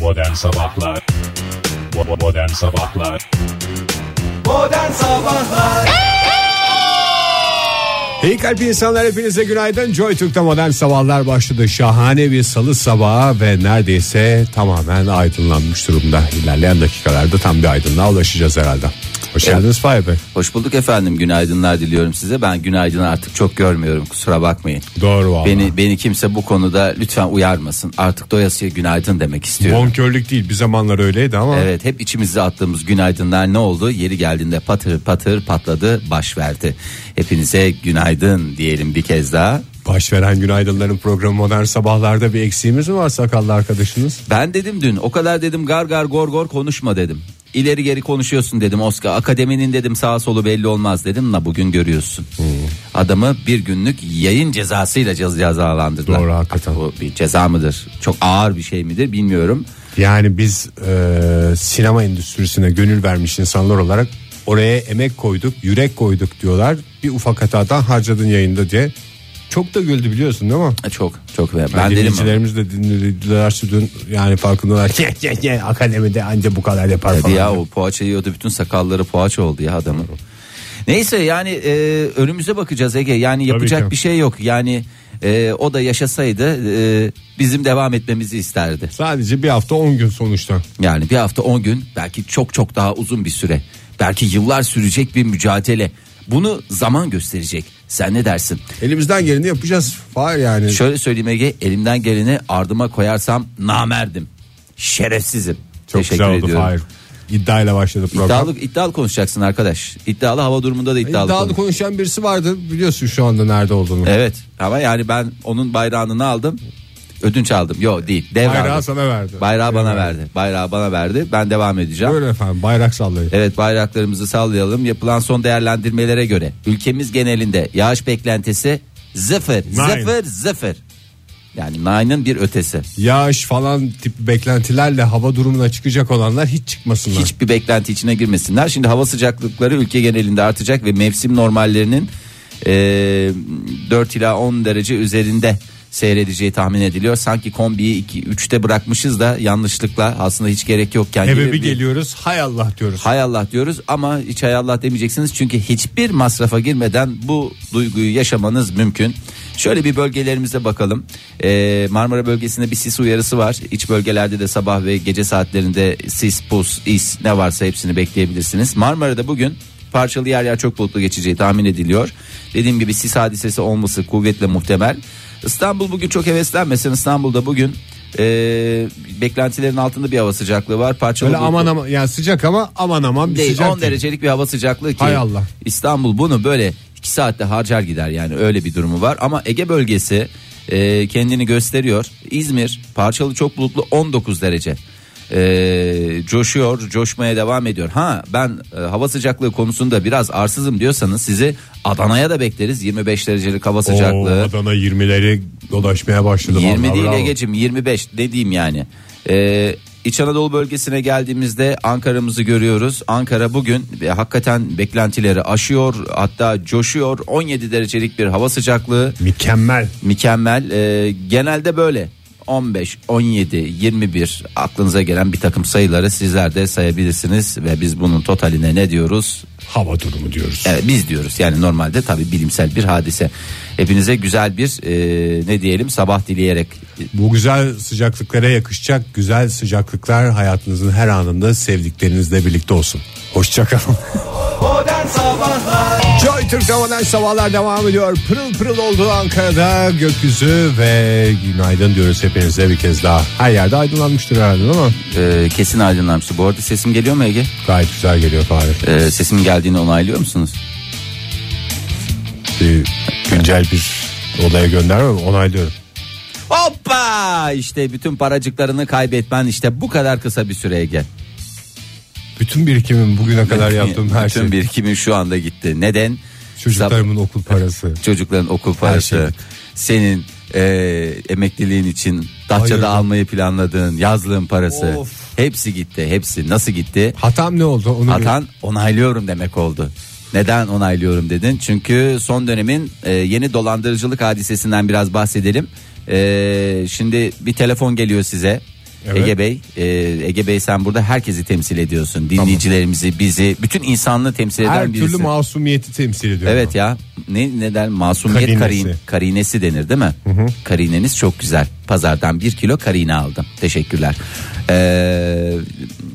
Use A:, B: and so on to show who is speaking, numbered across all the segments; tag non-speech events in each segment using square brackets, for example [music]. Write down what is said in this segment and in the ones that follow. A: Modern Sabahlar Bo- Modern Sabahlar
B: Modern Sabahlar
C: İyi kalp insanlar hepinize günaydın. Joy Türk'te modern sabahlar başladı. Şahane bir salı sabahı ve neredeyse tamamen aydınlanmış durumda. İlerleyen dakikalarda tam bir aydınlığa ulaşacağız herhalde. Hoş geldiniz Fahir Bey.
D: Hoş bulduk efendim. Günaydınlar diliyorum size. Ben günaydını artık çok görmüyorum. Kusura bakmayın.
C: Doğru valla.
D: Beni beni kimse bu konuda lütfen uyarmasın. Artık doyasıya günaydın demek istiyorum.
C: Bonkörlük değil bir zamanlar öyleydi ama
D: Evet hep içimizde attığımız günaydınlar ne oldu? Yeri geldiğinde patır patır patladı, baş verdi. Hepinize günaydın diyelim bir kez daha.
C: başveren günaydınların programı modern sabahlarda bir eksiğimiz mi var sakallı arkadaşınız?
D: Ben dedim dün o kadar dedim gar gar gor gor konuşma dedim. İleri geri konuşuyorsun dedim Oscar. Akademinin dedim sağ solu belli olmaz dedim. Na bugün görüyorsun.
C: Hmm.
D: Adamı bir günlük yayın cezasıyla cez- cezalandırdılar.
C: Doğru, hakikaten.
D: Bu bir ceza mıdır? Çok ağır bir şey midir bilmiyorum.
C: Yani biz e, sinema endüstrisine gönül vermiş insanlar olarak oraya emek koyduk, yürek koyduk diyorlar. Bir ufak hatadan harcadın yayında diye. Çok da güldü biliyorsun değil mi?
D: E, Çok çok. Ben,
C: Ben
D: dedim
C: Dinleyicilerimiz de dinlediler dün yani farkındalar. Ye, ye, ye, Akademide anca bu kadar yapar
D: Hadi
C: falan.
D: ya o poğaça yiyordu bütün sakalları poğaça oldu ya adamın. Neyse yani e, önümüze bakacağız Ege yani
C: ki.
D: yapacak bir şey yok yani e, o da yaşasaydı e, bizim devam etmemizi isterdi.
C: Sadece bir hafta 10 gün sonuçta.
D: Yani bir hafta 10 gün belki çok çok daha uzun bir süre. Belki yıllar sürecek bir mücadele. Bunu zaman gösterecek. Sen ne dersin?
C: Elimizden geleni yapacağız. Var yani.
D: Şöyle söyleyeyim Ege elimden geleni ardıma koyarsam namerdim. Şerefsizim.
C: Çok
D: Teşekkür
C: güzel oldu
D: ediyorum.
C: Fahir. İddiayla başladı program.
D: İddialı, iddialı konuşacaksın arkadaş. İddialı hava durumunda da iddialı.
C: İddialı
D: konuş.
C: konuşan birisi vardı biliyorsun şu anda nerede olduğunu.
D: Evet ama yani ben onun bayrağını ne aldım? Ödünç aldım. Yok değil. Devraldım.
C: Bayrağı sana verdi.
D: Bayrağı bana
C: Evet.
D: verdi. Bayrağı bana verdi. Ben devam edeceğim.
C: Buyurun efendim bayrak sallayın.
D: Evet bayraklarımızı sallayalım. Yapılan son değerlendirmelere göre ülkemiz genelinde yağış beklentisi sıfır,
C: Nine.
D: sıfır, sıfır. Yani nine'ın bir ötesi.
C: Yağış falan tip beklentilerle hava durumuna çıkacak olanlar hiç çıkmasınlar.
D: Hiçbir beklenti içine girmesinler. Şimdi hava sıcaklıkları ülke genelinde artacak ve mevsim normallerinin eee 4 ila 10 derece üzerinde seyredeceği tahmin ediliyor. Sanki kombiyi 2 3'te bırakmışız da yanlışlıkla aslında hiç gerek yokken gibi
C: Eve bir
D: bir-
C: geliyoruz hay Allah diyoruz.
D: Hay Allah diyoruz ama hiç hay Allah demeyeceksiniz çünkü hiçbir masrafa girmeden bu duyguyu yaşamanız mümkün. Şöyle bir bölgelerimize bakalım. Ee, Marmara bölgesinde bir sis uyarısı var. İç bölgelerde de sabah ve gece saatlerinde sis, pus, is ne varsa hepsini bekleyebilirsiniz. Marmara'da bugün parçalı yer yer çok bulutlu geçeceği tahmin ediliyor. Dediğim gibi sis hadisesi olması kuvvetle muhtemel. İstanbul bugün çok heveslenmesin. İstanbul'da bugün ee, beklentilerin altında bir hava sıcaklığı var. Parçalı
C: Böyle
D: bulutlu
C: aman aman yani sıcak ama aman aman bir
D: değil
C: sıcak.
D: 10
C: değil.
D: derecelik bir hava sıcaklığı ki
C: Hay Allah.
D: İstanbul bunu böyle 2 saatte harcar gider yani öyle bir durumu var ama Ege bölgesi e, kendini gösteriyor. İzmir parçalı çok bulutlu 19 derece. E, coşuyor, coşmaya devam ediyor. Ha ben e, hava sıcaklığı konusunda biraz arsızım diyorsanız sizi Adana'ya da bekleriz. 25 derecelik hava sıcaklığı.
C: Oo, Adana 20'leri dolaşmaya başladı.
D: 20
C: vallahi,
D: değil
C: bravo.
D: Ege'cim 25 dediğim yani. Ee, İç Anadolu bölgesine geldiğimizde Ankara'mızı görüyoruz. Ankara bugün e, hakikaten beklentileri aşıyor hatta coşuyor. 17 derecelik bir hava sıcaklığı
C: Mükemmel.
D: mükemmel. Ee, genelde böyle 15, 17, 21 aklınıza gelen bir takım sayıları sizler de sayabilirsiniz. Ve biz bunun totaline ne diyoruz?
C: Hava durumu diyoruz.
D: Evet, biz diyoruz yani normalde tabi bilimsel bir hadise. Hepinize güzel bir e, ne diyelim sabah dileyerek e,
C: Bu güzel sıcaklıklara yakışacak güzel sıcaklıklar hayatınızın her anında sevdiklerinizle birlikte olsun. Hoşçakalın.
B: Modern Sabahlar
C: Joy Türk'te modern sabahlar devam ediyor. Pırıl pırıl oldu Ankara'da gökyüzü ve günaydın diyoruz hepinize bir kez daha. Her yerde aydınlanmıştır herhalde ama
D: Ee, kesin aydınlanmıştı. Bu arada sesim geliyor mu Ege?
C: gayet güzel geliyor Fahir.
D: Ee, sesimin geldiğini onaylıyor musunuz?
C: Bir güncel bir odaya gönderme mi? onaylıyorum.
D: Hoppa! İşte bütün paracıklarını kaybetmen işte bu kadar kısa bir süreye gel.
C: Bütün birikimim bugüne kadar yaptığım her
D: bütün
C: şey.
D: birikimin şu anda gitti. Neden? Sab-
C: Çocuklarımın okul parası.
D: çocukların okul
C: şey
D: parası,
C: gitti.
D: senin e, emekliliğin için
C: Hayır.
D: Datça'da almayı planladığın yazlığın parası.
C: Of.
D: Hepsi gitti. Hepsi nasıl gitti?
C: Hatam ne oldu? Onu bil-
D: Atan onaylıyorum demek oldu. Neden onaylıyorum dedin? Çünkü son dönemin e, yeni dolandırıcılık hadisesinden biraz bahsedelim. E, şimdi bir telefon geliyor size.
C: Evet.
D: Ege Bey. e, Ege Bey sen burada herkesi temsil ediyorsun. Dinleyicilerimizi, bizi, bütün insanlığı temsil eden
C: Her
D: birisi.
C: türlü masumiyeti temsil ediyor.
D: Evet ya. Ne neden masumiyet
C: Karinesi.
D: karin, karinesi denir değil mi? Karineniz çok güzel. Pazardan bir kilo karine aldım. Teşekkürler. Ee,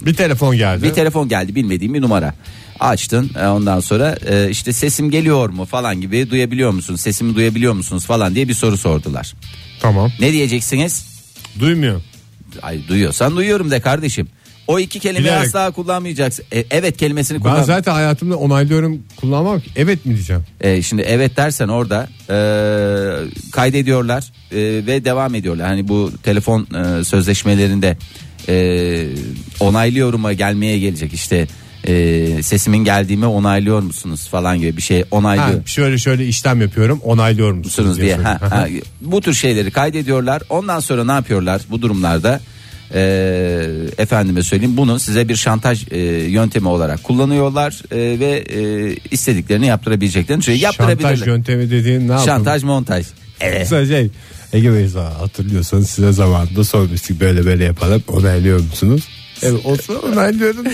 C: Bir telefon geldi.
D: bir telefon geldi bilmediğim bir numara. Açtın e, ondan sonra e, işte sesim geliyor mu falan gibi duyabiliyor musunuz? Sesimi duyabiliyor musunuz falan diye bir soru sordular.
C: tamam.
D: Ne diyeceksiniz?
C: Duymuyor.
D: Ay duyuyorsan duyuyorum de kardeşim. O iki kelimeyi
C: Bilerek.
D: asla kullanmayacaksın. E, evet kelimesini
C: Ben
D: kullan.
C: zaten hayatımda onaylıyorum kullanmam. ki. Evet mi diyeceğim?
D: E, şimdi evet dersen orada e, kaydediyorlar e, ve devam ediyorlar. Hani bu telefon e, sözleşmelerinde e, onaylıyorum'a gelmeye gelecek işte e, sesimin geldiğimi onaylıyor musunuz falan gibi bir şey
C: Ha,
D: onaylıyor.
C: şöyle şöyle işlem yapıyorum onaylıyorum musunuz
D: musunuz diye. Ha,
C: söylüyorum.
D: ha. Bu tür şeyleri kaydediyorlar. Ondan sonra ne yapıyorlar bu durumlarda? Ee, efendime söyleyeyim bunu size bir şantaj e, yöntemi olarak kullanıyorlar e, ve e, istediklerini yaptırabileceklerini şey yaptırabilirler.
C: Şantaj yöntemi dediğin ne yapalım?
D: Şantaj montaj. Evet.
C: Mesela şey Ege Bey sağ- hatırlıyorsanız size zamanında sormuştuk böyle böyle yapalım onaylıyor musunuz? Evet olsa onaylıyorum.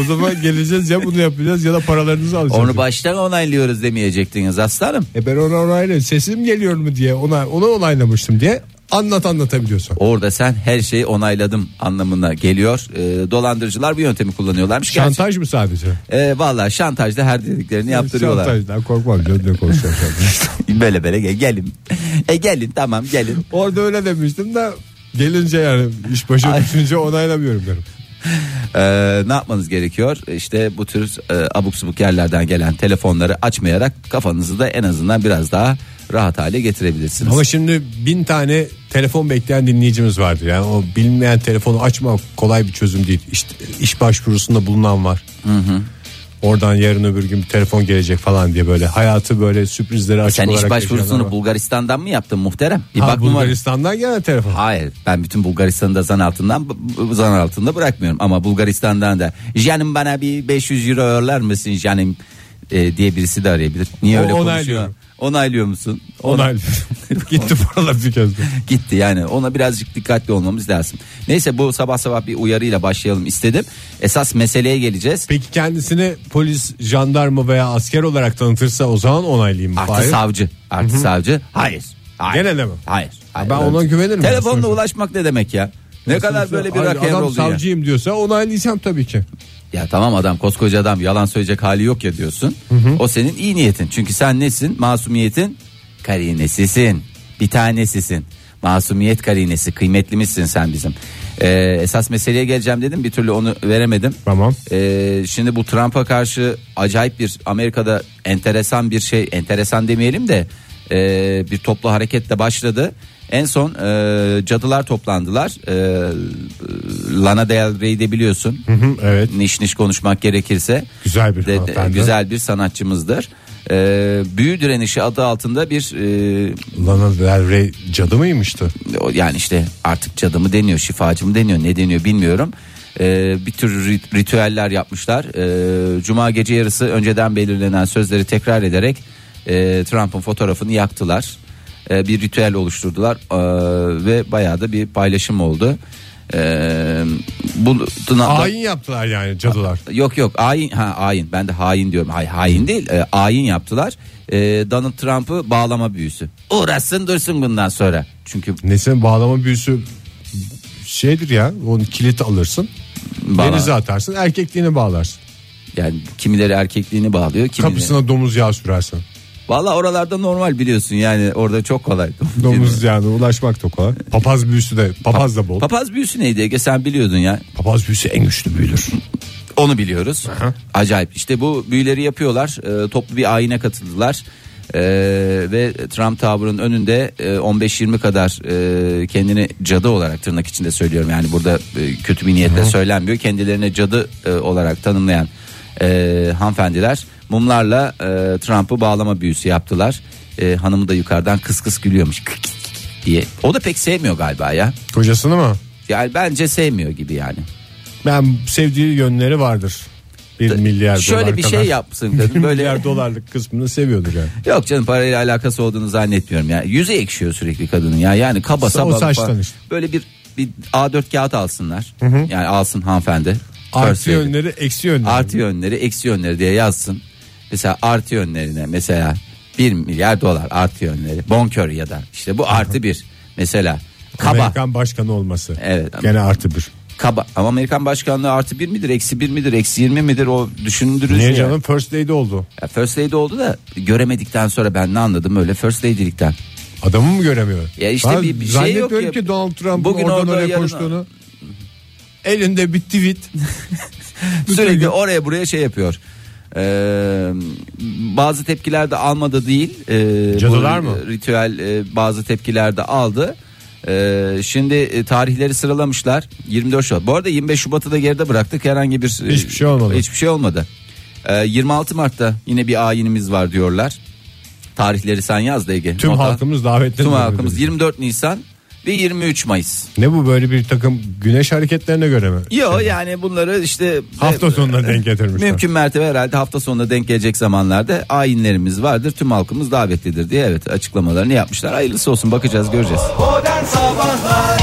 C: o zaman geleceğiz ya bunu yapacağız ya da paralarınızı alacağız.
D: Onu baştan onaylıyoruz demeyecektiniz aslanım.
C: E ben ona onaylıyorum sesim geliyor mu diye ona, ona onaylamıştım diye anlat anlatabiliyorsun.
D: Orada sen her şeyi onayladım anlamına geliyor. Ee, dolandırıcılar bu yöntemi kullanıyorlarmış. Gerçi-
C: Şantaj mı sadece?
D: Ee, vallahi şantajda her dediklerini yaptırıyorlar.
C: Şantajdan korkmam canım ne
D: [laughs]
C: konuşacağım.
D: Böyle böyle gel- gelin. [laughs] E gelin tamam gelin.
C: Orada öyle demiştim de gelince yani iş başa
D: Ay.
C: düşünce onaylamıyorum derim.
D: Ee, ne yapmanız gerekiyor? İşte bu tür e, abuk subuk yerlerden gelen telefonları açmayarak kafanızı da en azından biraz daha rahat hale getirebilirsiniz.
C: Ama şimdi bin tane telefon bekleyen dinleyicimiz vardı. Yani o bilinmeyen telefonu açma kolay bir çözüm değil. İşte iş başvurusunda bulunan var. Oradan yarın öbür gün bir telefon gelecek falan diye böyle hayatı böyle sürprizlere açık
D: Sen
C: olarak
D: iş
C: yaşayanlar var.
D: başvurusunu Bulgaristan'dan mı yaptın muhterem? Bir
C: Ha,
D: bak numara-
C: Bulgaristan'dan gelen telefon.
D: Hayır ben bütün Bulgaristan'ı da zan altından bu- bu- zan altında bırakmıyorum ama Bulgaristan'dan da canım bana bir 500 euro öler misin canım e, diye birisi de arayabilir. Niye
C: O-
D: öyle konuşuyor?
C: onaylıyorum.
D: Onaylıyor musun? [laughs]
C: Onay. Gitti paralar bir kez de.
D: gitti yani ona birazcık dikkatli olmamız lazım. Neyse bu sabah sabah bir uyarıyla başlayalım istedim. Esas meseleye geleceğiz.
C: Peki kendisini polis, jandarma veya asker olarak tanıtırsa o zaman onaylayayım. mı?
D: Artı
C: Hayır.
D: savcı, artı savcı. Hayır. hayır.
C: Gene de mi?
D: Hayır. hayır.
C: Ben ona güvenirim ya,
D: Telefonla
C: sonuçta.
D: ulaşmak ne demek ya? Ne kadar böyle bir
C: Hayır,
D: rock and
C: Adam
D: roll ya.
C: savcıyım diyorsa onaylayacağım tabii ki.
D: Ya tamam adam koskoca adam yalan söyleyecek hali yok ya diyorsun. O senin iyi niyetin. Çünkü sen nesin? Masumiyetin karinesisin. Bir tanesisin. Masumiyet karinesi kıymetlimizsin sen bizim. Ee, esas meseleye geleceğim dedim bir türlü onu veremedim.
C: Tamam.
D: Ee, şimdi bu Trump'a karşı acayip bir Amerika'da enteresan bir şey enteresan demeyelim de e, bir toplu hareketle başladı. En son e, cadılar toplandılar. E, Lana Del Rey'de biliyorsun
C: Hı hı, evet.
D: niş niş konuşmak gerekirse
C: Güzel bir hanımefendi.
D: güzel bir sanatçımızdır. Ee, büyü direnişi adı altında bir e,
C: Lana Del Rey cadı mıymıştı?
D: o- yani işte artık cadı mı deniyor şifacı mı deniyor ne deniyor bilmiyorum. Ee, bir tür rit- ritüeller yapmışlar. Ee, Cuma gece yarısı önceden belirlenen sözleri tekrar ederek e, Trump'ın fotoğrafını yaktılar. Ee, bir ritüel oluşturdular Ee, ve bayağı da bir paylaşım oldu. Ee, bu,
C: Hain yaptılar yani cadılar.
D: Yok yok ayin ha ayin ben de hain diyorum. Hay hain değil e, ayin yaptılar. E, Donald Trump'ı bağlama büyüsü. Uğraşsın dursun bundan sonra. Çünkü
C: Nesin bağlama büyüsü şeydir ya. Onu kilit alırsın.
D: Bağla-
C: Denize atarsın. Erkekliğini bağlarsın.
D: yani kimileri erkekliğini bağlıyor kimileri.
C: Kapısına domuz yağı sürersin.
D: Valla oralarda normal biliyorsun yani orada çok kolay.
C: Domuz yağına ulaşmak da kolay. Papaz büyüsü de papaz da bol.
D: Papaz büyüsü neydi Ege sen biliyordun ya.
C: Papaz büyüsü en güçlü büyüdür.
D: Onu biliyoruz. Acayip. İşte bu büyüleri yapıyorlar. Ee, toplu bir ayine katıldılar. Ee, ve Trump Tower'ın önünde e, 15-20 kadar e, kendini cadı olarak tırnak içinde söylüyorum. Yani burada e, kötü bir niyetle söylenmiyor. Kendilerine cadı e, olarak tanımlayan e, hanımefendiler mumlarla e, Trump'ı bağlama büyüsü yaptılar. E, hanımı da yukarıdan kıs kıs gülüyormuş Kık kık kık diye. O da pek sevmiyor galiba ya.
C: Kocasını mı?
D: Yani bence sevmiyor gibi yani.
C: Ben sevdiği yönleri vardır. Bir milyar
D: Şöyle
C: dolar
D: bir
C: kadar.
D: şey
C: [laughs]
D: yapsın
C: Bir
D: kadın. Böyle
C: milyar dolarlık kısmını seviyordur yani.
D: Yok canım parayla alakası olduğunu zannetmiyorum ya. Yüzü ekşiyor sürekli kadının ya. Yani kaba
C: O
D: saba
C: saçtan
D: falan.
C: işte.
D: böyle bir bir A4 kağıt alsınlar. Yani alsın hanımefendi.
C: Artı
D: Persuade.
C: yönleri eksi yönleri.
D: Artı yönleri eksi yönleri diye yazsın. Mesela artı yönlerine mesela 1 milyar dolar artı yönleri. Bonkör ya da işte bu artı bir. Mesela kaba.
C: Amerikan başkanı olması.
D: Evet.
C: Gene artı bir.
D: Kaba. Ama Amerikan başkanlığı artı bir midir, eksi bir midir, eksi yirmi midir o düşündürüz
C: Niye
D: ya.
C: canım first lady oldu.
D: Ya First Lady oldu da göremedikten sonra ben ne anladım öyle First Lady'likten.
C: Adamı mı göremiyor?
D: Ya işte
C: Ben
D: bir- bir şey
C: zannetmiyorum
D: yok ya.
C: ki Donald Trump'ın
D: Bugün
C: oradan
D: orada,
C: oraya
D: yarın-
C: koştuğunu. Elinde bir
D: [laughs]
C: tweet.
D: Sürekli oraya buraya şey yapıyor. Ee, bazı tepkiler de almadı değil. Ee,
C: Cadılar
D: bu
C: mı?
D: Ritüel e, bazı tepkiler de aldı. Ee, şimdi e, tarihleri sıralamışlar. 24 Şubat. Bu arada 25 Şubat'ı da geride bıraktık. Herhangi bir e,
C: Hiçbir şey olmadı.
D: Hiçbir şey olmadı. Ee, 26 Mart'ta yine bir ayinimiz var diyorlar. Tarihleri sen yaz da Ege.
C: Tüm
D: Nota.
C: halkımız davetli.
D: Tüm halkımız 24 Nisan ve 23 Mayıs.
C: Ne bu böyle bir takım güneş hareketlerine göre mi?
D: Yo yani bunları işte
C: Hafta sonuna
D: [laughs]
C: denk getirmişler.
D: mümkün mertebe herhalde hafta sonuna denk gelecek zamanlarda ayinlerimiz vardır. Tüm halkımız davetlidir diye evet açıklamalarını yapmışlar. Hayırlısı olsun bakacağız göreceğiz.
B: Modern Sabahlar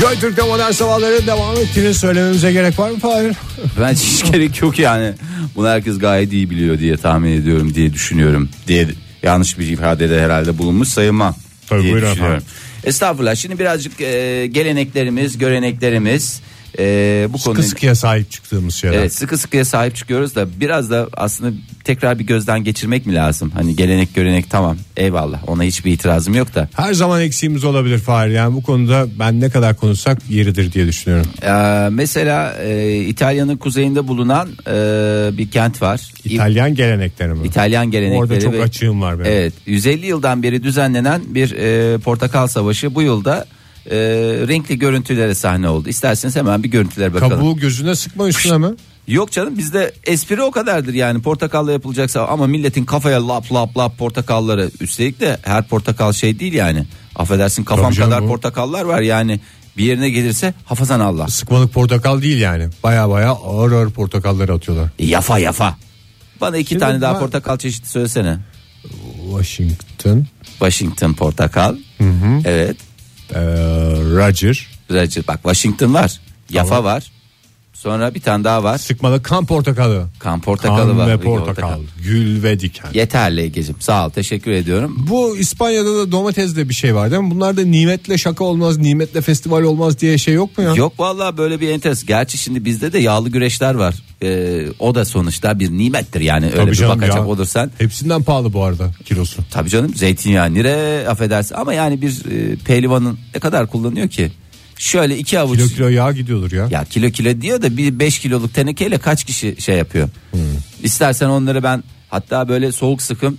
C: Joy Türk'te modern sabahları devam ettiğini söylememize gerek var mı Fahir?
D: Ben hiç [laughs] gerek yok yani. Bunu herkes gayet iyi biliyor diye tahmin ediyorum diye düşünüyorum diye yanlış bir ifadede herhalde bulunmuş sayılmam.
C: Tabii,
D: diye
C: buyurun
D: düşünüyorum.
C: efendim.
D: Estağfurullah. Şimdi birazcık e, geleneklerimiz, göreneklerimiz e, bu
C: Sıkı
D: konuyla-
C: sıkıya sahip çıktığımız şeyler.
D: Evet sıkı sıkıya sahip çıkıyoruz da biraz da aslında tekrar bir gözden geçirmek mi lazım? Hani gelenek görenek tamam eyvallah ona hiçbir itirazım yok da.
C: Her zaman eksiğimiz olabilir Fahir. Yani bu konuda ben ne kadar konuşsak yeridir diye düşünüyorum.
D: Ee, mesela e, İtalya'nın kuzeyinde bulunan e, bir kent var. İ-
C: İtalyan gelenekleri mi?
D: İtalyan gelenekleri.
C: Orada çok
D: ve-
C: açığım var benim.
D: Evet 150 yıldan beri düzenlenen bir e, portakal savaşı bu yılda e, renkli görüntülere sahne oldu. İsterseniz hemen bir görüntülere bakalım.
C: Kabuğu gözüne sıkma üstüne mi?
D: Yok canım bizde espri o kadardır yani portakalla yapılacaksa ama milletin kafaya lap lap lap portakalları üstelik de her portakal şey değil yani affedersin kafam
C: Tabii canım
D: kadar
C: bu.
D: portakallar var yani bir yerine gelirse hafazan Allah
C: Sıkmalık portakal değil yani. Baya baya ağır ağır portakalları atıyorlar.
D: E, yafa yafa bana iki
C: Şimdi
D: tane daha
C: ben-
D: portakal çeşidi söylesene
C: Washington,
D: Washington portakal evet
C: eee, e, Roger.
D: Roger. bak Washington var yafa var sonra bir tane daha var
C: Sıkmalık kan portakalı.
D: kan portakalı
C: Kan
D: var
C: ve
D: Bir
C: portakal. Gül ve diken.
D: yeterli Egeciğim sağ ol teşekkür ediyorum
C: Bu İspanya'da da domatesde bir şey var değil mi? Bunlarda nimetle şaka olmaz, nimetle festival olmaz diye şey yok mu ya?
D: Yok vallahi böyle bir enteres. Gerçi şimdi bizde de yağlı güreşler var. Ee, o da sonuçta bir nimettir yani öyle
C: Tabii
D: bir
C: canım
D: bakacak
C: ya.
D: olursan.
C: Hepsinden pahalı bu arada kilosu.
D: Tabii canım zeytinyağı nire affedersin ama yani bir e, pehlivanın ne kadar kullanıyor ki? Şöyle iki avuç
C: Kilo kilo yağ gidiyordur ya.
D: ya kilo kilo diyor da bir 5 kiloluk tenekeyle kaç kişi şey yapıyor.
C: Hmm.
D: İstersen onları ben hatta böyle soğuk sıkım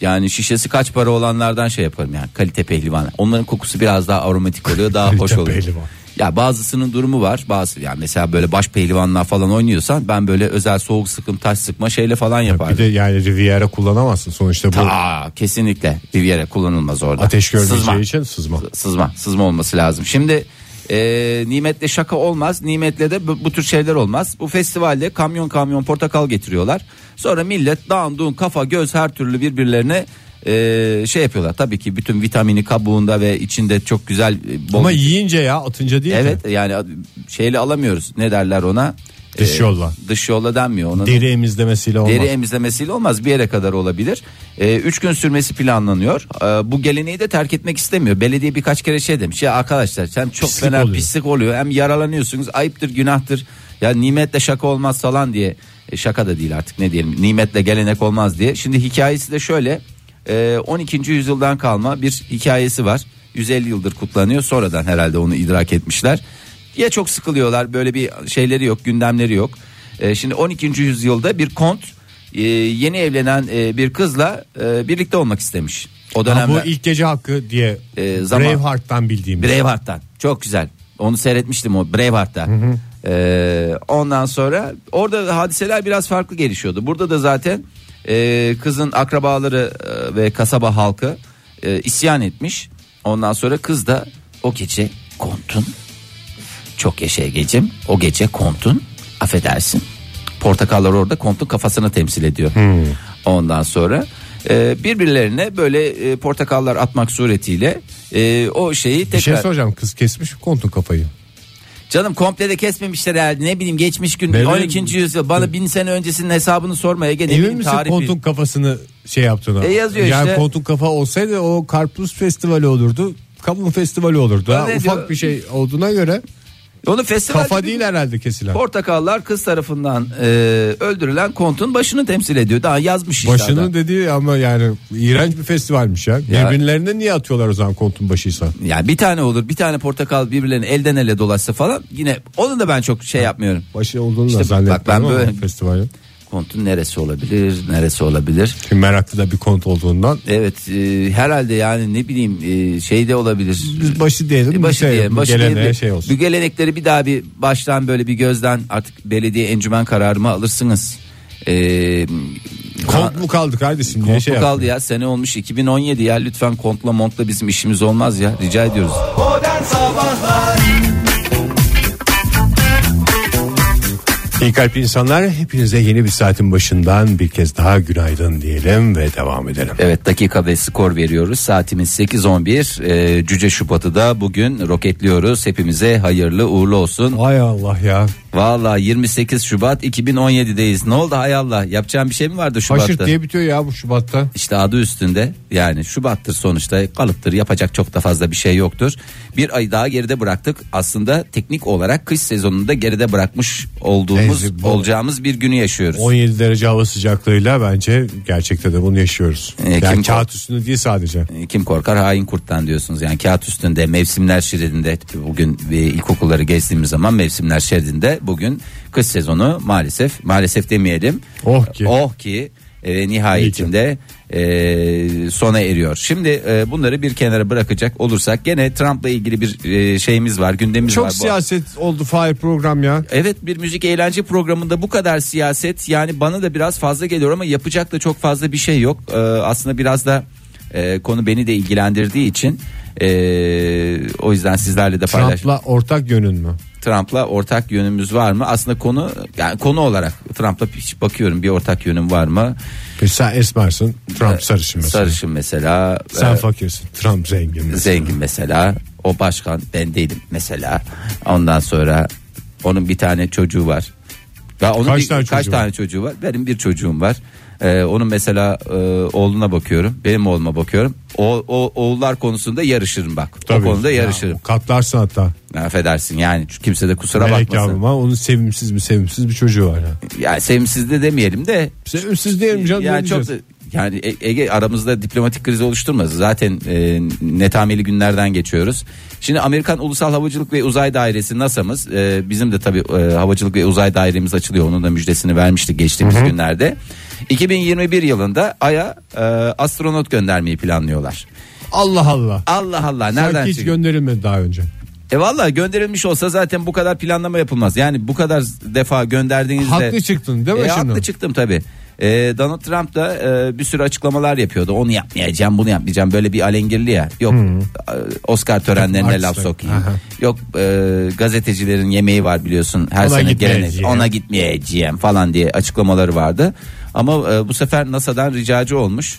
D: yani şişesi kaç para olanlardan şey yaparım yani kalite pehlivan. Onların kokusu biraz daha aromatik oluyor daha hoş
C: Kalite
D: oluyor.
C: pehlivan.
D: Ya bazısının durumu var bazı yani mesela böyle baş pehlivanla falan oynuyorsan ben böyle özel soğuk sıkım taş sıkma şeyle falan yaparım.
C: Bir de yani Riviera kullanamazsın sonuçta bu
D: Aa, kesinlikle bir yere kullanılmaz orada.
C: ateş görmeyeceği
D: Sızma.
C: için sızma.
D: sızma sızma olması lazım. Şimdi e, nimetle şaka olmaz nimetle de bu, bu tür şeyler olmaz. Bu festivalde kamyon kamyon portakal getiriyorlar. Sonra millet dağındığın kafa göz her türlü birbirlerine e, şey yapıyorlar. Tabii ki bütün vitamini kabuğunda ve içinde çok güzel e, bol.
C: Ama yiyince ya atınca değil
D: evet
C: ki.
D: yani a- şeyle alamıyoruz ne derler ona.
C: Dış
D: E,
C: yolla.
D: dış yolla denmiyor ona.
C: Deri emizlemesiyle olmaz.
D: Deri emizlemesiyle olmaz bir yere kadar olabilir. 3 gün sürmesi planlanıyor. Ee, bu geleneği de terk etmek istemiyor. Belediye birkaç kere şey demiş. Ya arkadaşlar sen çok
C: Pislik
D: fena
C: oluyor."
D: pislik oluyor. Hem yaralanıyorsunuz ayıptır günahtır. Ya nimetle şaka olmaz falan diye. E, şaka da değil artık ne diyelim. Nimetle gelenek olmaz diye. Şimdi hikayesi de şöyle. Ee, 12. yüzyıldan kalma bir hikayesi var. 150 yıldır kutlanıyor. Sonradan herhalde onu idrak etmişler. Ya çok sıkılıyorlar böyle bir şeyleri yok gündemleri yok. Ee, şimdi 12. yüzyılda bir kont e, yeni evlenen e, bir kızla e, birlikte olmak istemiş. O
C: Ha, bu
D: dönemde
C: ilk gece hakkı diye
D: E, zaman-
C: Braveheart'tan bildiğimiz.
D: Braveheart'tan. Çok güzel. Onu seyretmiştim o Braveheart'ta. E, ondan sonra orada hadiseler biraz farklı gelişiyordu. Burada da zaten e, kızın akrabaları e, ve kasaba halkı e, isyan etmiş. Ondan sonra kız da o gece kontun çok yaşa gecim. O gece kontun affedersin. Portakallar orada kontun kafasını temsil ediyor. Ondan sonra e, birbirlerine böyle e, portakallar atmak suretiyle e, o şeyi tekrar...
C: Bir şey soracağım kız kesmiş mi kontun kafayı?
D: Canım komple de kesmemişler herhalde ne bileyim geçmiş gün
C: Benim-
D: 12. yüzyıl bana bin sene öncesinin hesabını sorma Ege ne
C: Emin
D: bileyim
C: misin
D: tarih
C: kontun
D: bil-
C: kafasını şey yaptığına?
D: E, yazıyor
C: yani
D: işte.
C: kontun kafa olsaydı o karpuz festivali olurdu. Kavun festivali olurdu. Ha,
D: ne
C: ufak
D: diyor?
C: bir şey olduğuna göre
D: Onu festival
C: kafa
D: gibi-
C: değil herhalde kesilen.
D: Portakallar kız tarafından e, öldürülen kontun başını temsil ediyor. Daha yazmış işte adam.
C: Başının dediği ama yani iğrenç bir festivalmiş ya.
D: Ya-
C: Birbirlerine niye atıyorlar o zaman kontun başıysa?
D: Yani bir tane olur bir tane portakal birbirlerini elden ele dolaşsa falan yine onu da ben çok şey yapmıyorum.
C: Başı olduğunu
D: İşte
C: da
D: bak
C: zannetmiyorum
D: ben
C: ama
D: böyle-
C: festivali.
D: Kontun neresi olabilir neresi olabilir.
C: Şimdi meraklı da bir kont olduğundan
D: Evet e, herhalde yani ne bileyim e, şey de olabilir.
C: biz başı diyelim. bir
D: E, başı
C: şey,
D: diye, başı
C: geleneğe
D: diye bir-
C: şey olsun.
D: Bu gelenekleri bir daha bir baştan böyle bir gözden artık belediye encümen kararımı alırsınız. Ee,
C: Kont mu kaldı kardeşim diye
D: kont
C: şey
D: mu
C: yaptım.
D: kaldı ya sene olmuş 2017 ya lütfen kontla montla bizim işimiz olmaz ya rica ediyoruz.
B: Modern Sabahlar
C: İyi kalp insanlar hepinize yeni bir saatin başından bir kez daha günaydın diyelim ve devam edelim.
D: Evet dakika ve skor veriyoruz saatimiz 8.11 ee, Cüce Şubat'ı da bugün roketliyoruz hepimize hayırlı uğurlu olsun.
C: Ay Allah ya.
D: Vallahi 28 Şubat 2017'deyiz ne oldu hay Allah yapacağım bir şey mi vardı Şubat'ta?
C: Haşır diye bitiyor ya bu Şubat'ta.
D: İşte adı üstünde yani Şubat'tır sonuçta kalıptır yapacak çok da fazla bir şey yoktur. Bir ay daha geride bıraktık aslında teknik olarak kış sezonunu da geride bırakmış olduğumuz
C: Neyse, bu-
D: olacağımız bir günü yaşıyoruz.
C: 17 derece hava sıcaklığıyla bence gerçekte de bunu yaşıyoruz.
D: Ee,
C: yani
D: kim-
C: kağıt üstünde değil sadece.
D: E, Kim korkar hain kurttan diyorsunuz yani kağıt üstünde mevsimler şeridinde bugün e, ilkokulları gezdiğimiz zaman mevsimler şeridinde bugün kış sezonu maalesef maalesef demeyelim.
C: Oh ki.
D: Oh ki e, nihayetinde e, sona eriyor. Şimdi e, bunları bir kenara bırakacak olursak gene Trump'la ilgili bir e, şeyimiz var gündemimiz var.
C: Çok
D: bu-
C: siyaset oldu Fahir program ya.
D: Evet bir müzik eğlence programında bu kadar siyaset yani bana da biraz fazla geliyor ama yapacak da çok fazla bir şey yok. Ee, aslında biraz da e, konu beni de ilgilendirdiği için e, o yüzden sizlerle de paylaş. Trump'la,
C: Trump'la ortak yönün mü?
D: ortak yönümüz var mı? Aslında konu yani konu olarak Trump'la hiç bakıyorum bir ortak yönüm var mı?
C: Peki sen esmersin Trump sarışın mesela.
D: E, Sarışın mesela.
C: Sen
D: e,
C: fakirsin Trump zengin. mesela.
D: zengin mesela o başkan ben değilim mesela ondan sonra onun bir tane çocuğu var ya onun
C: Kaç
D: bir-
C: tane
D: kaç
C: çocuğu
D: tane çocuğu var benim bir çocuğum var Ee, onun mesela e, oğluna bakıyorum benim oğluma bakıyorum o, o oğullar konusunda yarışırım bak
C: Tabii.
D: o konuda
C: Ya,
D: yarışırım
C: katlarsın hatta.
D: affedersin yani kimse de kusura
C: Melek
D: bakmasın
C: yavrum ha, onun sevimsiz mi sevimsiz bir çocuğu var. ya.
D: yani sevimsiz de demeyelim de
C: Sevimsiz diyelim canım.
D: Ee, yani
C: ne
D: çok
C: diyeceğiz?
D: da- yani E- Ege aramızda diplomatik kriz oluşturmaz. Zaten e, netameli günlerden geçiyoruz. Şimdi Amerikan Ulusal Havacılık ve Uzay Dairesi NASA'mız e, bizim de tabii e, havacılık ve uzay dairemiz açılıyor. Onun da müjdesini vermiştik geçtiğimiz günlerde. 2021 yılında Ay'a e, astronot göndermeyi planlıyorlar.
C: Allah Allah.
D: Allah Allah nereden
C: Sanki hiç
D: çıktı?
C: gönderilmedi daha önce.
D: e valla gönderilmiş olsa zaten bu kadar planlama yapılmaz. Yani bu kadar defa gönderdiğinizde...
C: Haklı çıktın değil mi
D: E,
C: şimdi?
D: Haklı çıktım tabii. E, Donald Trump da e, bir sürü açıklamalar yapıyordu. Onu yapmayacağım, bunu yapmayacağım. Böyle bir alengirli ya. Yok e, Oscar törenlerine
C: Artist
D: laf
C: tabii.
D: sokayım.
C: Hmm. Aha.
D: Yok e, gazetecilerin yemeği var biliyorsun. Her
C: Ona
D: sene gelenek.
C: gitmeyeceğim.
D: Ona gitmeyeceğim falan diye açıklamaları vardı. Ama e, bu sefer NASA'dan ricacı olmuş.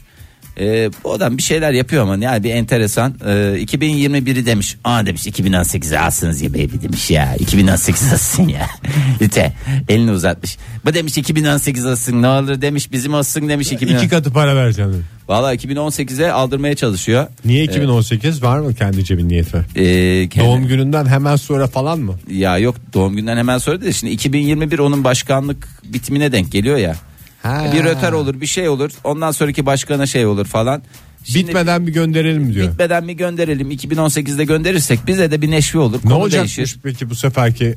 D: E, bu adam bir şeyler yapıyor ama yani bir enteresan. E, 2021'i demiş. Aa demiş 2018'e alsınız ya baby demiş ya. 2018 alsın ya. [laughs] Lütfen elini uzatmış. Bu demiş 2018 alsın ne olur demiş bizim olsun demiş. 2000...
C: İki katı para vereceğim. dedi.
D: Valla 2018'e aldırmaya çalışıyor.
C: Niye 2018 var mı kendi cebin niyeti?
D: E, kendi-
C: Doğum gününden hemen sonra falan mı?
D: Ya yok doğum günden hemen sonra da şimdi 2021 onun başkanlık bitimine denk geliyor ya.
C: Ha.
D: Bir röter olur bir şey olur ondan sonraki başkana şey olur falan. Şimdi
C: Bitmeden bir gönderelim diyor.
D: bitmeden mi gönderelim 2018'de gönderirsek bize de bir neşve olur.
C: Ne
D: konu
C: olacakmış
D: değişir.
C: peki bu seferki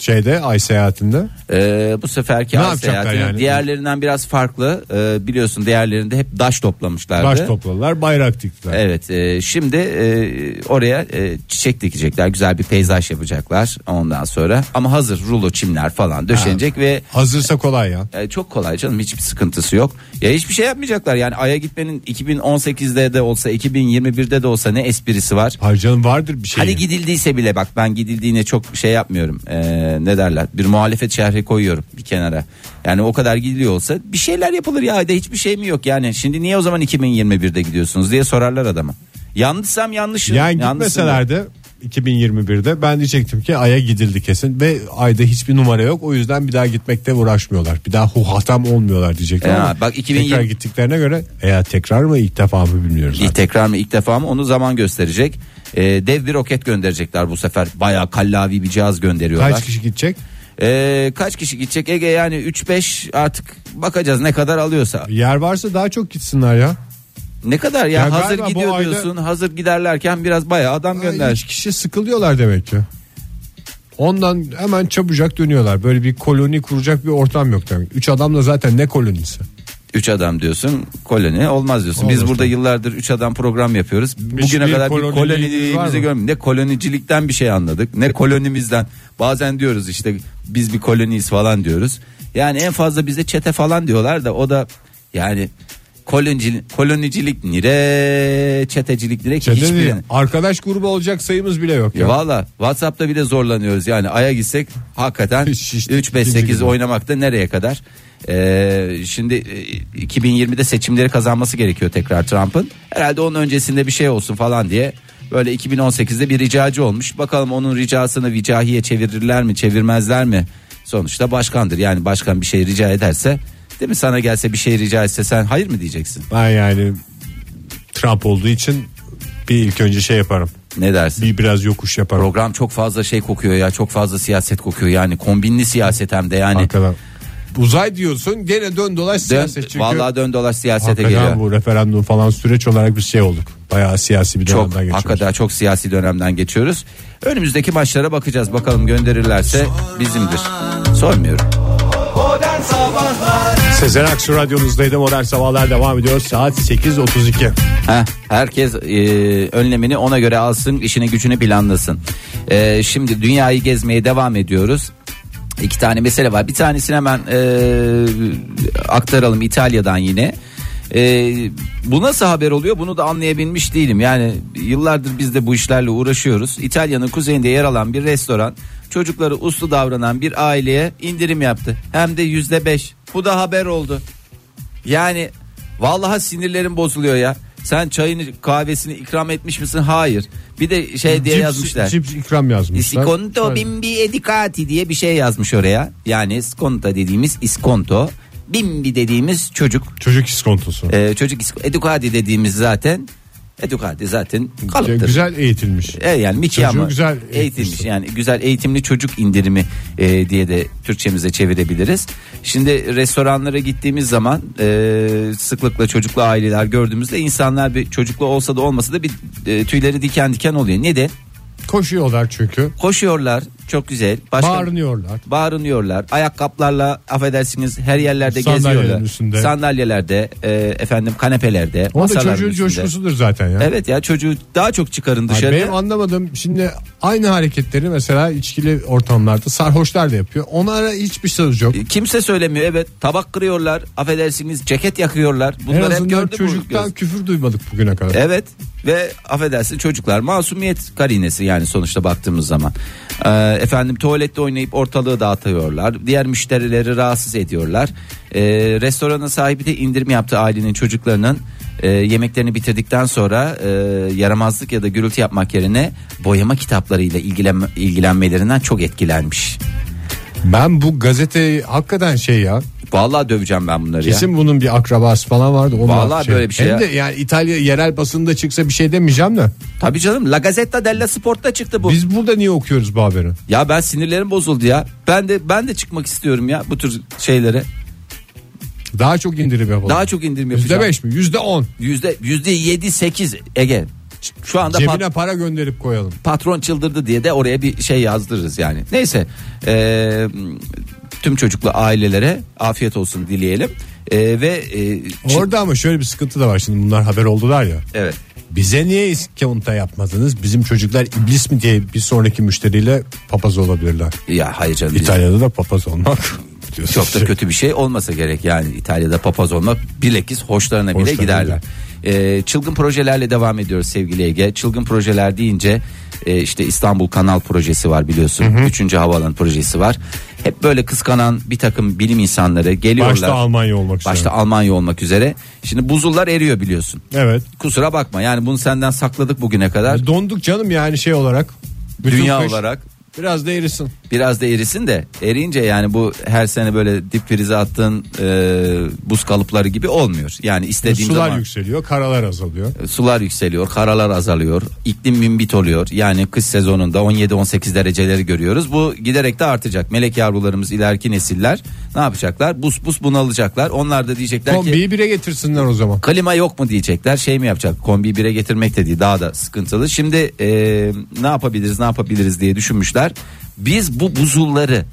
C: şeyde ay seyahatinde?
D: Ee, bu seferki
C: Ne
D: ay
C: yapacaklar
D: seyahati
C: yani?
D: diğerlerinden biraz farklı. Ee, biliyorsun diğerlerinde hep daş toplamışlardı.
C: Baş topladılar bayrak diktiler.
D: Evet e, şimdi e, oraya e, çiçek dikecekler güzel bir peyzaj yapacaklar ondan sonra ama hazır rulo çimler falan döşenecek ve
C: Hazırsa kolay ya.
D: E, çok kolay canım hiçbir sıkıntısı yok. Ya hiçbir şey yapmayacaklar yani Ay'a gitmenin 2018'de de olsa 2021'de de olsa ne esprisi var.
C: Hayır canım vardır bir şey.
D: Hadi gidildiyse bile bak ben gidildiğine çok şey yapmıyorum. Ee, ne derler? Bir muhalefet şerhi koyuyorum bir kenara. Yani o kadar gidiliyor olsa bir şeyler yapılır ya ayda hiçbir şey mi yok yani. Şimdi niye o zaman 2021'de gidiyorsunuz diye sorarlar adama. Yanlışsam yanlışım.
C: Yani
D: Yanlışsam-
C: gitmeselerdi 2021'de ben diyecektim ki Ay'a gidildi kesin ve Ay'da hiçbir numara yok. O yüzden bir daha gitmekte uğraşmıyorlar. Bir daha huhatam olmuyorlar diyecektim
D: Ya,
C: ama
D: bak 2020
C: tekrar gittiklerine göre veya tekrar mı ilk defa mı bilmiyoruz.
D: İlk tekrar mı ilk defa mı onu zaman gösterecek. Ee, dev bir roket gönderecekler bu sefer. Bayağı kallavi bir cihaz gönderiyorlar.
C: Kaç kişi gidecek?
D: Ee, kaç kişi gidecek Ege yani 3-5 artık bakacağız ne kadar alıyorsa.
C: Yer varsa daha çok gitsinler ya.
D: Ne kadar ya,
C: Ya
D: hazır
C: galiba bu
D: gidiyor
C: ayda-
D: diyorsun hazır giderlerken biraz bayağı adam
C: Ay,
D: gönder.
C: Hiç kişi sıkılıyorlar demek ki. Ondan hemen çabucak dönüyorlar. Böyle bir koloni kuracak bir ortam yok demek. Üç adamla zaten ne kolonisi?
D: 3 adam diyorsun koloni olmaz diyorsun. Biz
C: Olmaz
D: burada
C: tabii.
D: yıllardır 3 adam program yapıyoruz. Bugüne
C: bir
D: kadar bir
C: koloniliğimiz var mı?
D: koloniliğimizi görmedik. Ne kolonicilikten bir şey anladık ne kolonimizden. Bazen diyoruz işte biz bir koloniyiz falan diyoruz. Yani en fazla bize çete falan diyorlar da o da yani kolonici, kolonicilik nire çetecilik nire ki
C: Çete değil.
D: hiçbir...
C: Şey Arkadaş grubu olacak sayımız bile yok.
D: Ya
C: Ya.
D: valla E, Whatsapp'ta bile zorlanıyoruz yani aya gitsek
C: [laughs]
D: hakikaten
C: Şiştik,
D: 3-5-8
C: ikinci
D: oynamakta nereye kadar? Ee, şimdi e, 2020'de seçimleri kazanması gerekiyor tekrar Trump'ın. Herhalde onun öncesinde bir şey olsun falan diye böyle 2018'de bir ricacı olmuş. Bakalım onun ricasını vicahiye çevirirler mi çevirmezler mi? Sonuçta başkandır yani başkan bir şey rica ederse değil mi sana gelse bir şey rica etse sen hayır mı diyeceksin?
C: Ben yani Trump olduğu için bir ilk önce şey yaparım.
D: Ne dersin?
C: Bir biraz yokuş yaparım.
D: Program çok fazla şey kokuyor ya çok fazla siyaset kokuyor yani kombinli siyaset hem de yani.
C: Arkadan. Uzay diyorsun gene dön dolaş
D: Dön,
C: siyaset çünkü.
D: vallahi dön dolaş siyasete geliyor.
C: Hakikaten bu referandum falan süreç olarak bir şey olduk. Bayağı siyasi bir
D: Çok
C: dönemden geçiyoruz.
D: hakikaten çok siyasi dönemden geçiyoruz. Önümüzdeki maçlara bakacağız bakalım gönderirlerse bizimdir. Sormuyorum.
B: Modern Sabahlar
C: Sezen Aksu radyonuzdaydı. Modern Sabahlar devam ediyor. Saat 8.32.
D: Heh, herkes e, önlemini ona göre alsın, işini gücünü planlasın. E, şimdi dünyayı gezmeye devam ediyoruz. İki tane mesele var. Bir tanesini hemen e, aktaralım İtalya'dan yine. E, bu nasıl haber oluyor bunu da anlayabilmiş değilim. Yani yıllardır biz de bu işlerle uğraşıyoruz. İtalya'nın kuzeyinde yer alan bir restoran çocukları uslu davranan bir aileye indirim yaptı. Hem de yüzde beş. Bu da haber oldu. Yani vallahi sinirlerim bozuluyor ya. Sen çayını kahvesini ikram etmiş misin? Hayır. Bir de şey diye
C: Cips-
D: yazmışlar.
C: Cips ikram yazmışlar.
D: İskonto bimbi edikati diye bir şey yazmış oraya. Yani iskonto dediğimiz iskonto. Bimbi dediğimiz çocuk.
C: Çocuk iskontosu.
D: Ee, çocuk isk- edukati dediğimiz zaten. Edukati zaten kalıptır.
C: Şey, Güzel eğitilmiş.
D: E yani Mickey
C: Çocuğu
D: ama
C: güzel
D: eğitilmiş
C: eğitmişsin.
D: yani güzel eğitimli çocuk indirimi e, diye de Türkçemize çevirebiliriz. Şimdi restoranlara gittiğimiz zaman e, sıklıkla çocuklu aileler gördüğümüzde insanlar bir çocuklu olsa da olmasa da bir e, tüyleri diken diken oluyor. Ne de
C: Koşuyorlar çünkü.
D: koşuyorlar çok güzel. Başka,
C: Bağırıyorlar.
D: bağırınıyorlar. Ayakkabılarla affedersiniz her yerlerde
C: Sandalyelerin
D: geziyorlar.
C: üstünde.
D: Sandalyelerde, e, efendim kanepelerde,
C: O da
D: masaların
C: çocuğun
D: üstünde.
C: coşkusudur zaten ya.
D: Evet ya çocuğu daha çok çıkarın
C: Ay,
D: dışarı.
C: Şey, Benim anlamadığım şimdi aynı hareketleri mesela içkili ortamlarda sarhoşlar da yapıyor. Onlara hiçbir söz yok.
D: Kimse söylemiyor evet tabak kırıyorlar affedersiniz ceket yakıyorlar
C: en
D: bunları hep
C: azından
D: gördüm
C: çocuktan
D: bu- E.
C: küfür duymadık bugüne kadar.
D: Evet ve affedersin çocuklar masumiyet karinesi yani sonuçta baktığımız zaman. Ee, efendim tuvalette oynayıp ortalığı dağıtıyorlar. Diğer müşterileri rahatsız ediyorlar. Ee, restoranın sahibi de indirim yaptı ailenin çocuklarının e, yemeklerini bitirdikten sonra e, yaramazlık ya da gürültü yapmak yerine boyama kitaplarıyla ilgilen, ilgilenmelerinden çok etkilenmiş.
C: Ben bu gazeteyi hakikaten şey ya.
D: Vallahi döveceğim ben bunları ya.
C: Kesin bunun bir akrabası falan vardı. Onun
D: Vallahi
C: altı
D: böyle bir şey
C: Hem
D: ya.
C: de yani İtalya yerel basında çıksa bir şey demeyeceğim de.
D: Tabii canım La Gazzetta della Sport'ta çıktı bu.
C: Biz burada niye okuyoruz bu haberi?
D: Ya ben sinirlerim bozuldu ya. Ben de ben de çıkmak istiyorum ya bu tür şeylere.
C: Daha çok indirim yapalım.
D: Daha çok indirim
C: Yüzde
D: yapacağım.
C: beş mi? Yüzde on.
D: Yüzde yüzde yedi sekiz Ege. Ç- Şu anda
C: Cebine
D: pat-
C: para gönderip koyalım.
D: patron çıldırdı diye de oraya bir şey yazdırırız yani. Neyse eee, tüm çocuklu ailelere afiyet olsun dileyelim. Eee, ve e, eee, çi-
C: Orada ama şöyle bir sıkıntı da var şimdi bunlar haber oldular ya.
D: evet.
C: Bize niye iskonto yapmadınız? Bizim çocuklar iblis mi diye bir sonraki müşteriyle papaz olabilirler.
D: Ya hayır canım.
C: İtalya'da da papaz olmak diyorsunuz.
D: Çok da kötü bir şey olmasa gerek yani İtalya'da papaz olmak bilakis hoşlarına bile
C: Hoşlarına
D: giderler. Ee, çılgın projelerle devam ediyoruz sevgili Ege. Çılgın projeler deyince e, işte İstanbul Kanal projesi var biliyorsun. Üçüncü havaalanı projesi var. Hep böyle kıskanan bir takım bilim insanları geliyorlar.
C: Başta Almanya olmak üzere.
D: Başta Almanya olmak üzere. Şimdi buzullar eriyor biliyorsun.
C: Evet.
D: Kusura bakma yani bunu senden sakladık bugüne kadar.
C: Donduk canım yani şey olarak. Bütün
D: Dünya
C: kış
D: olarak
C: Biraz da erisin.
D: biraz da erisin de eriince yani bu her sene böyle dip prize attığın e, buz kalıpları gibi olmuyor. Yani istediğin
C: Sular
D: zaman
C: yükseliyor, karalar azalıyor.
D: sular yükseliyor, karalar azalıyor, iklim mümbit oluyor. Yani kış sezonunda 17-18 dereceleri görüyoruz. Bu giderek de artacak. Melek yavrularımız ileriki nesiller ne yapacaklar? Bus bus bunalacaklar. Onlar da diyecekler ki
C: Kombiyi bire getirsinler o zaman.
D: klima yok mu diyecekler. Şey mi yapacak? Kombiyi bire getirmek de değil. Daha da sıkıntılı. Şimdi e, ne yapabiliriz ne yapabiliriz diye düşünmüşler. Biz bu buzulları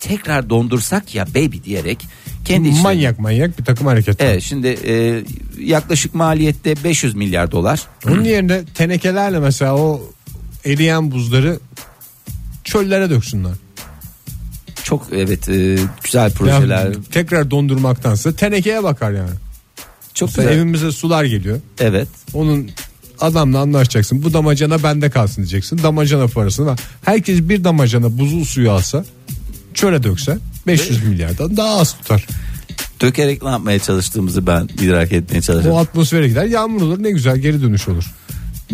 D: tekrar dondursak ya baby diyerek kendi içlerinde-
C: Manyak manyak bir takım hareketler.
D: Evet şimdi e, yaklaşık maliyette 500 milyar dolar.
C: Onun yerine tenekelerle mesela o eriyen buzları çöllere döksünler.
D: Çok evet e, güzel
C: Yani
D: projeler.
C: tekrar dondurmaktansa tenekeye bakar yani.
D: çok
C: Mesela
D: güzel.
C: evimize sular geliyor.
D: Evet.
C: Onun adamla anlaşacaksın. Bu damacana bende kalsın diyeceksin. Damacana parasını ver. Herkes bir damacana buzul suyu alsa çöle dökse 500 milyardan daha az tutar.
D: Dökerek ne yapmaya çalıştığımızı ben idrak etmeye
C: O
D: çalışıyorum.
C: atmosfere gider yağmur olur ne güzel geri dönüş olur.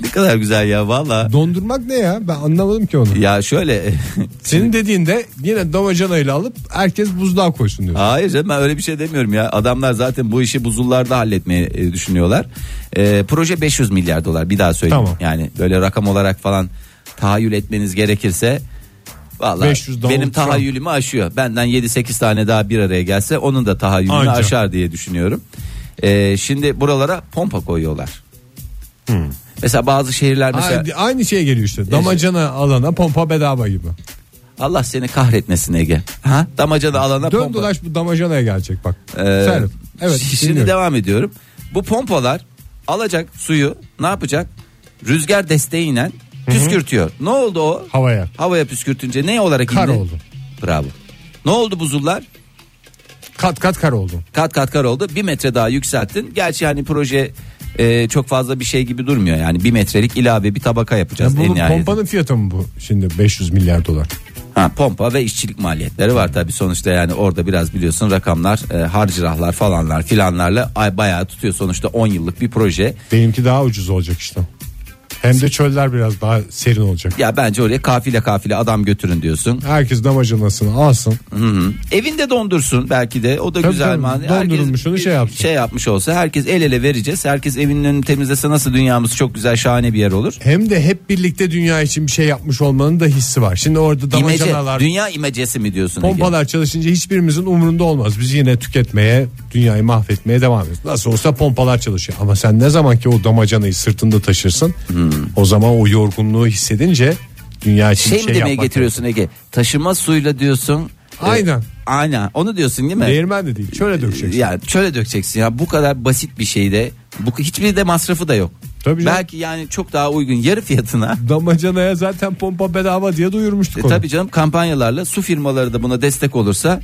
D: Ne kadar güzel ya valla.
C: Dondurmak ne ya ben anlamadım ki onu.
D: Ya şöyle
C: Senin dediğinde yine damacanayla alıp herkes buzluğa koysun diyor.
D: Hayır canım ben öyle bir şey demiyorum ya. Adamlar zaten bu işi buzullarda halletmeyi e, düşünüyorlar. E, proje 500 milyar dolar bir daha söyleyeyim.
C: Tamam.
D: Yani böyle rakam olarak falan tahayyül etmeniz gerekirse Vallahi
C: 500 Donald
D: benim
C: Trump.
D: tahayyülümü aşıyor. Benden 7-8 tane daha bir araya gelse onun da tahayyülünü
C: Anca.
D: aşar diye düşünüyorum. E, şimdi buralara pompa koyuyorlar.
C: Hmm.
D: Mesela bazı şehirler mesela
C: Aynı, aynı şey geliyor işte. Damacana alana pompa bedava gibi.
D: Allah seni kahretmesin Ege. Ha? Damacana alana
C: Dön
D: pompa.
C: dolaş bu damacanaya gelecek bak.
D: Ee,
C: Serap, Evet.
D: şi- Şimdi
C: dinliyorum.
D: devam ediyorum. Bu pompalar alacak suyu ne yapacak? Rüzgar desteğiyle püskürtüyor. Ne oldu o?
C: Havaya.
D: Havaya püskürtünce ne olarak
C: Kar
D: indi?
C: oldu.
D: Bravo. Ne oldu buzullar?
C: Kat kat kar oldu.
D: Kat kat kar oldu. Bir metre daha yükselttin. Gerçi hani proje e, çok fazla bir şey gibi durmuyor. Yani bir metrelik ilave bir tabaka yapacağız.
C: Ya bunun
D: en nihayetinde.
C: pompanın fiyatı mı bu? Şimdi 500 milyar dolar.
D: Ha, pompa ve işçilik maliyetleri var tabi sonuçta yani orada biraz biliyorsun rakamlar e, harcırahlar falanlar filanlarla ay bayağı tutuyor sonuçta 10 yıllık bir proje.
C: Benimki daha ucuz olacak işte. Hem de çöller biraz daha serin olacak.
D: Ya bence oraya kafile kafile adam götürün diyorsun.
C: Herkes damacanasını alsın.
D: Evinde dondursun belki de o da
C: Tabii
D: güzel
C: tabii,
D: mani.
C: dondurulmuşunu şey yapsın.
D: Şey yapmış olsa herkes el ele vereceğiz. Herkes evinin önünü temizlese nasıl dünyamız çok güzel şahane bir yer olur.
C: Hem de hep birlikte dünya için bir şey yapmış olmanın da hissi var. Şimdi orada
D: İmece,
C: damacanalar,
D: dünya imecesi mi diyorsun Ege?
C: pompalar çalışınca hiçbirimizin umurunda olmaz. Biz yine tüketmeye, dünyayı mahvetmeye devam ediyoruz. Nasıl olsa pompalar çalışıyor. Ama sen ne zaman ki o damacanayı sırtında taşırsın,
D: Hmm.
C: o zaman o yorgunluğu hissedince dünya için
D: Şey
C: bir
D: mi
C: şey
D: demeye
C: yapmak
D: getiriyorsun Ege? Taşıma suyla diyorsun. E,
C: Aynen.
D: aynen onu diyorsun değil mi?
C: lazım. Değirmen de değil, çöle dökeceksin.
D: Ya şöyle dökeceksin ya bu kadar basit bir şeyde bu hiçbir de masrafı da yok.
C: Tabii canım.
D: Belki yani çok daha uygun yarı fiyatına.
C: Damacanaya zaten pompa bedava diye duyurmuştuk
D: E,
C: onu.
D: tabii canım kampanyalarla su firmaları da buna destek olursa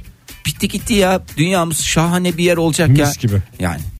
D: bitti gitti ya dünyamız şahane bir yer olacak
C: Mis
D: ya.
C: gibi.
D: Yani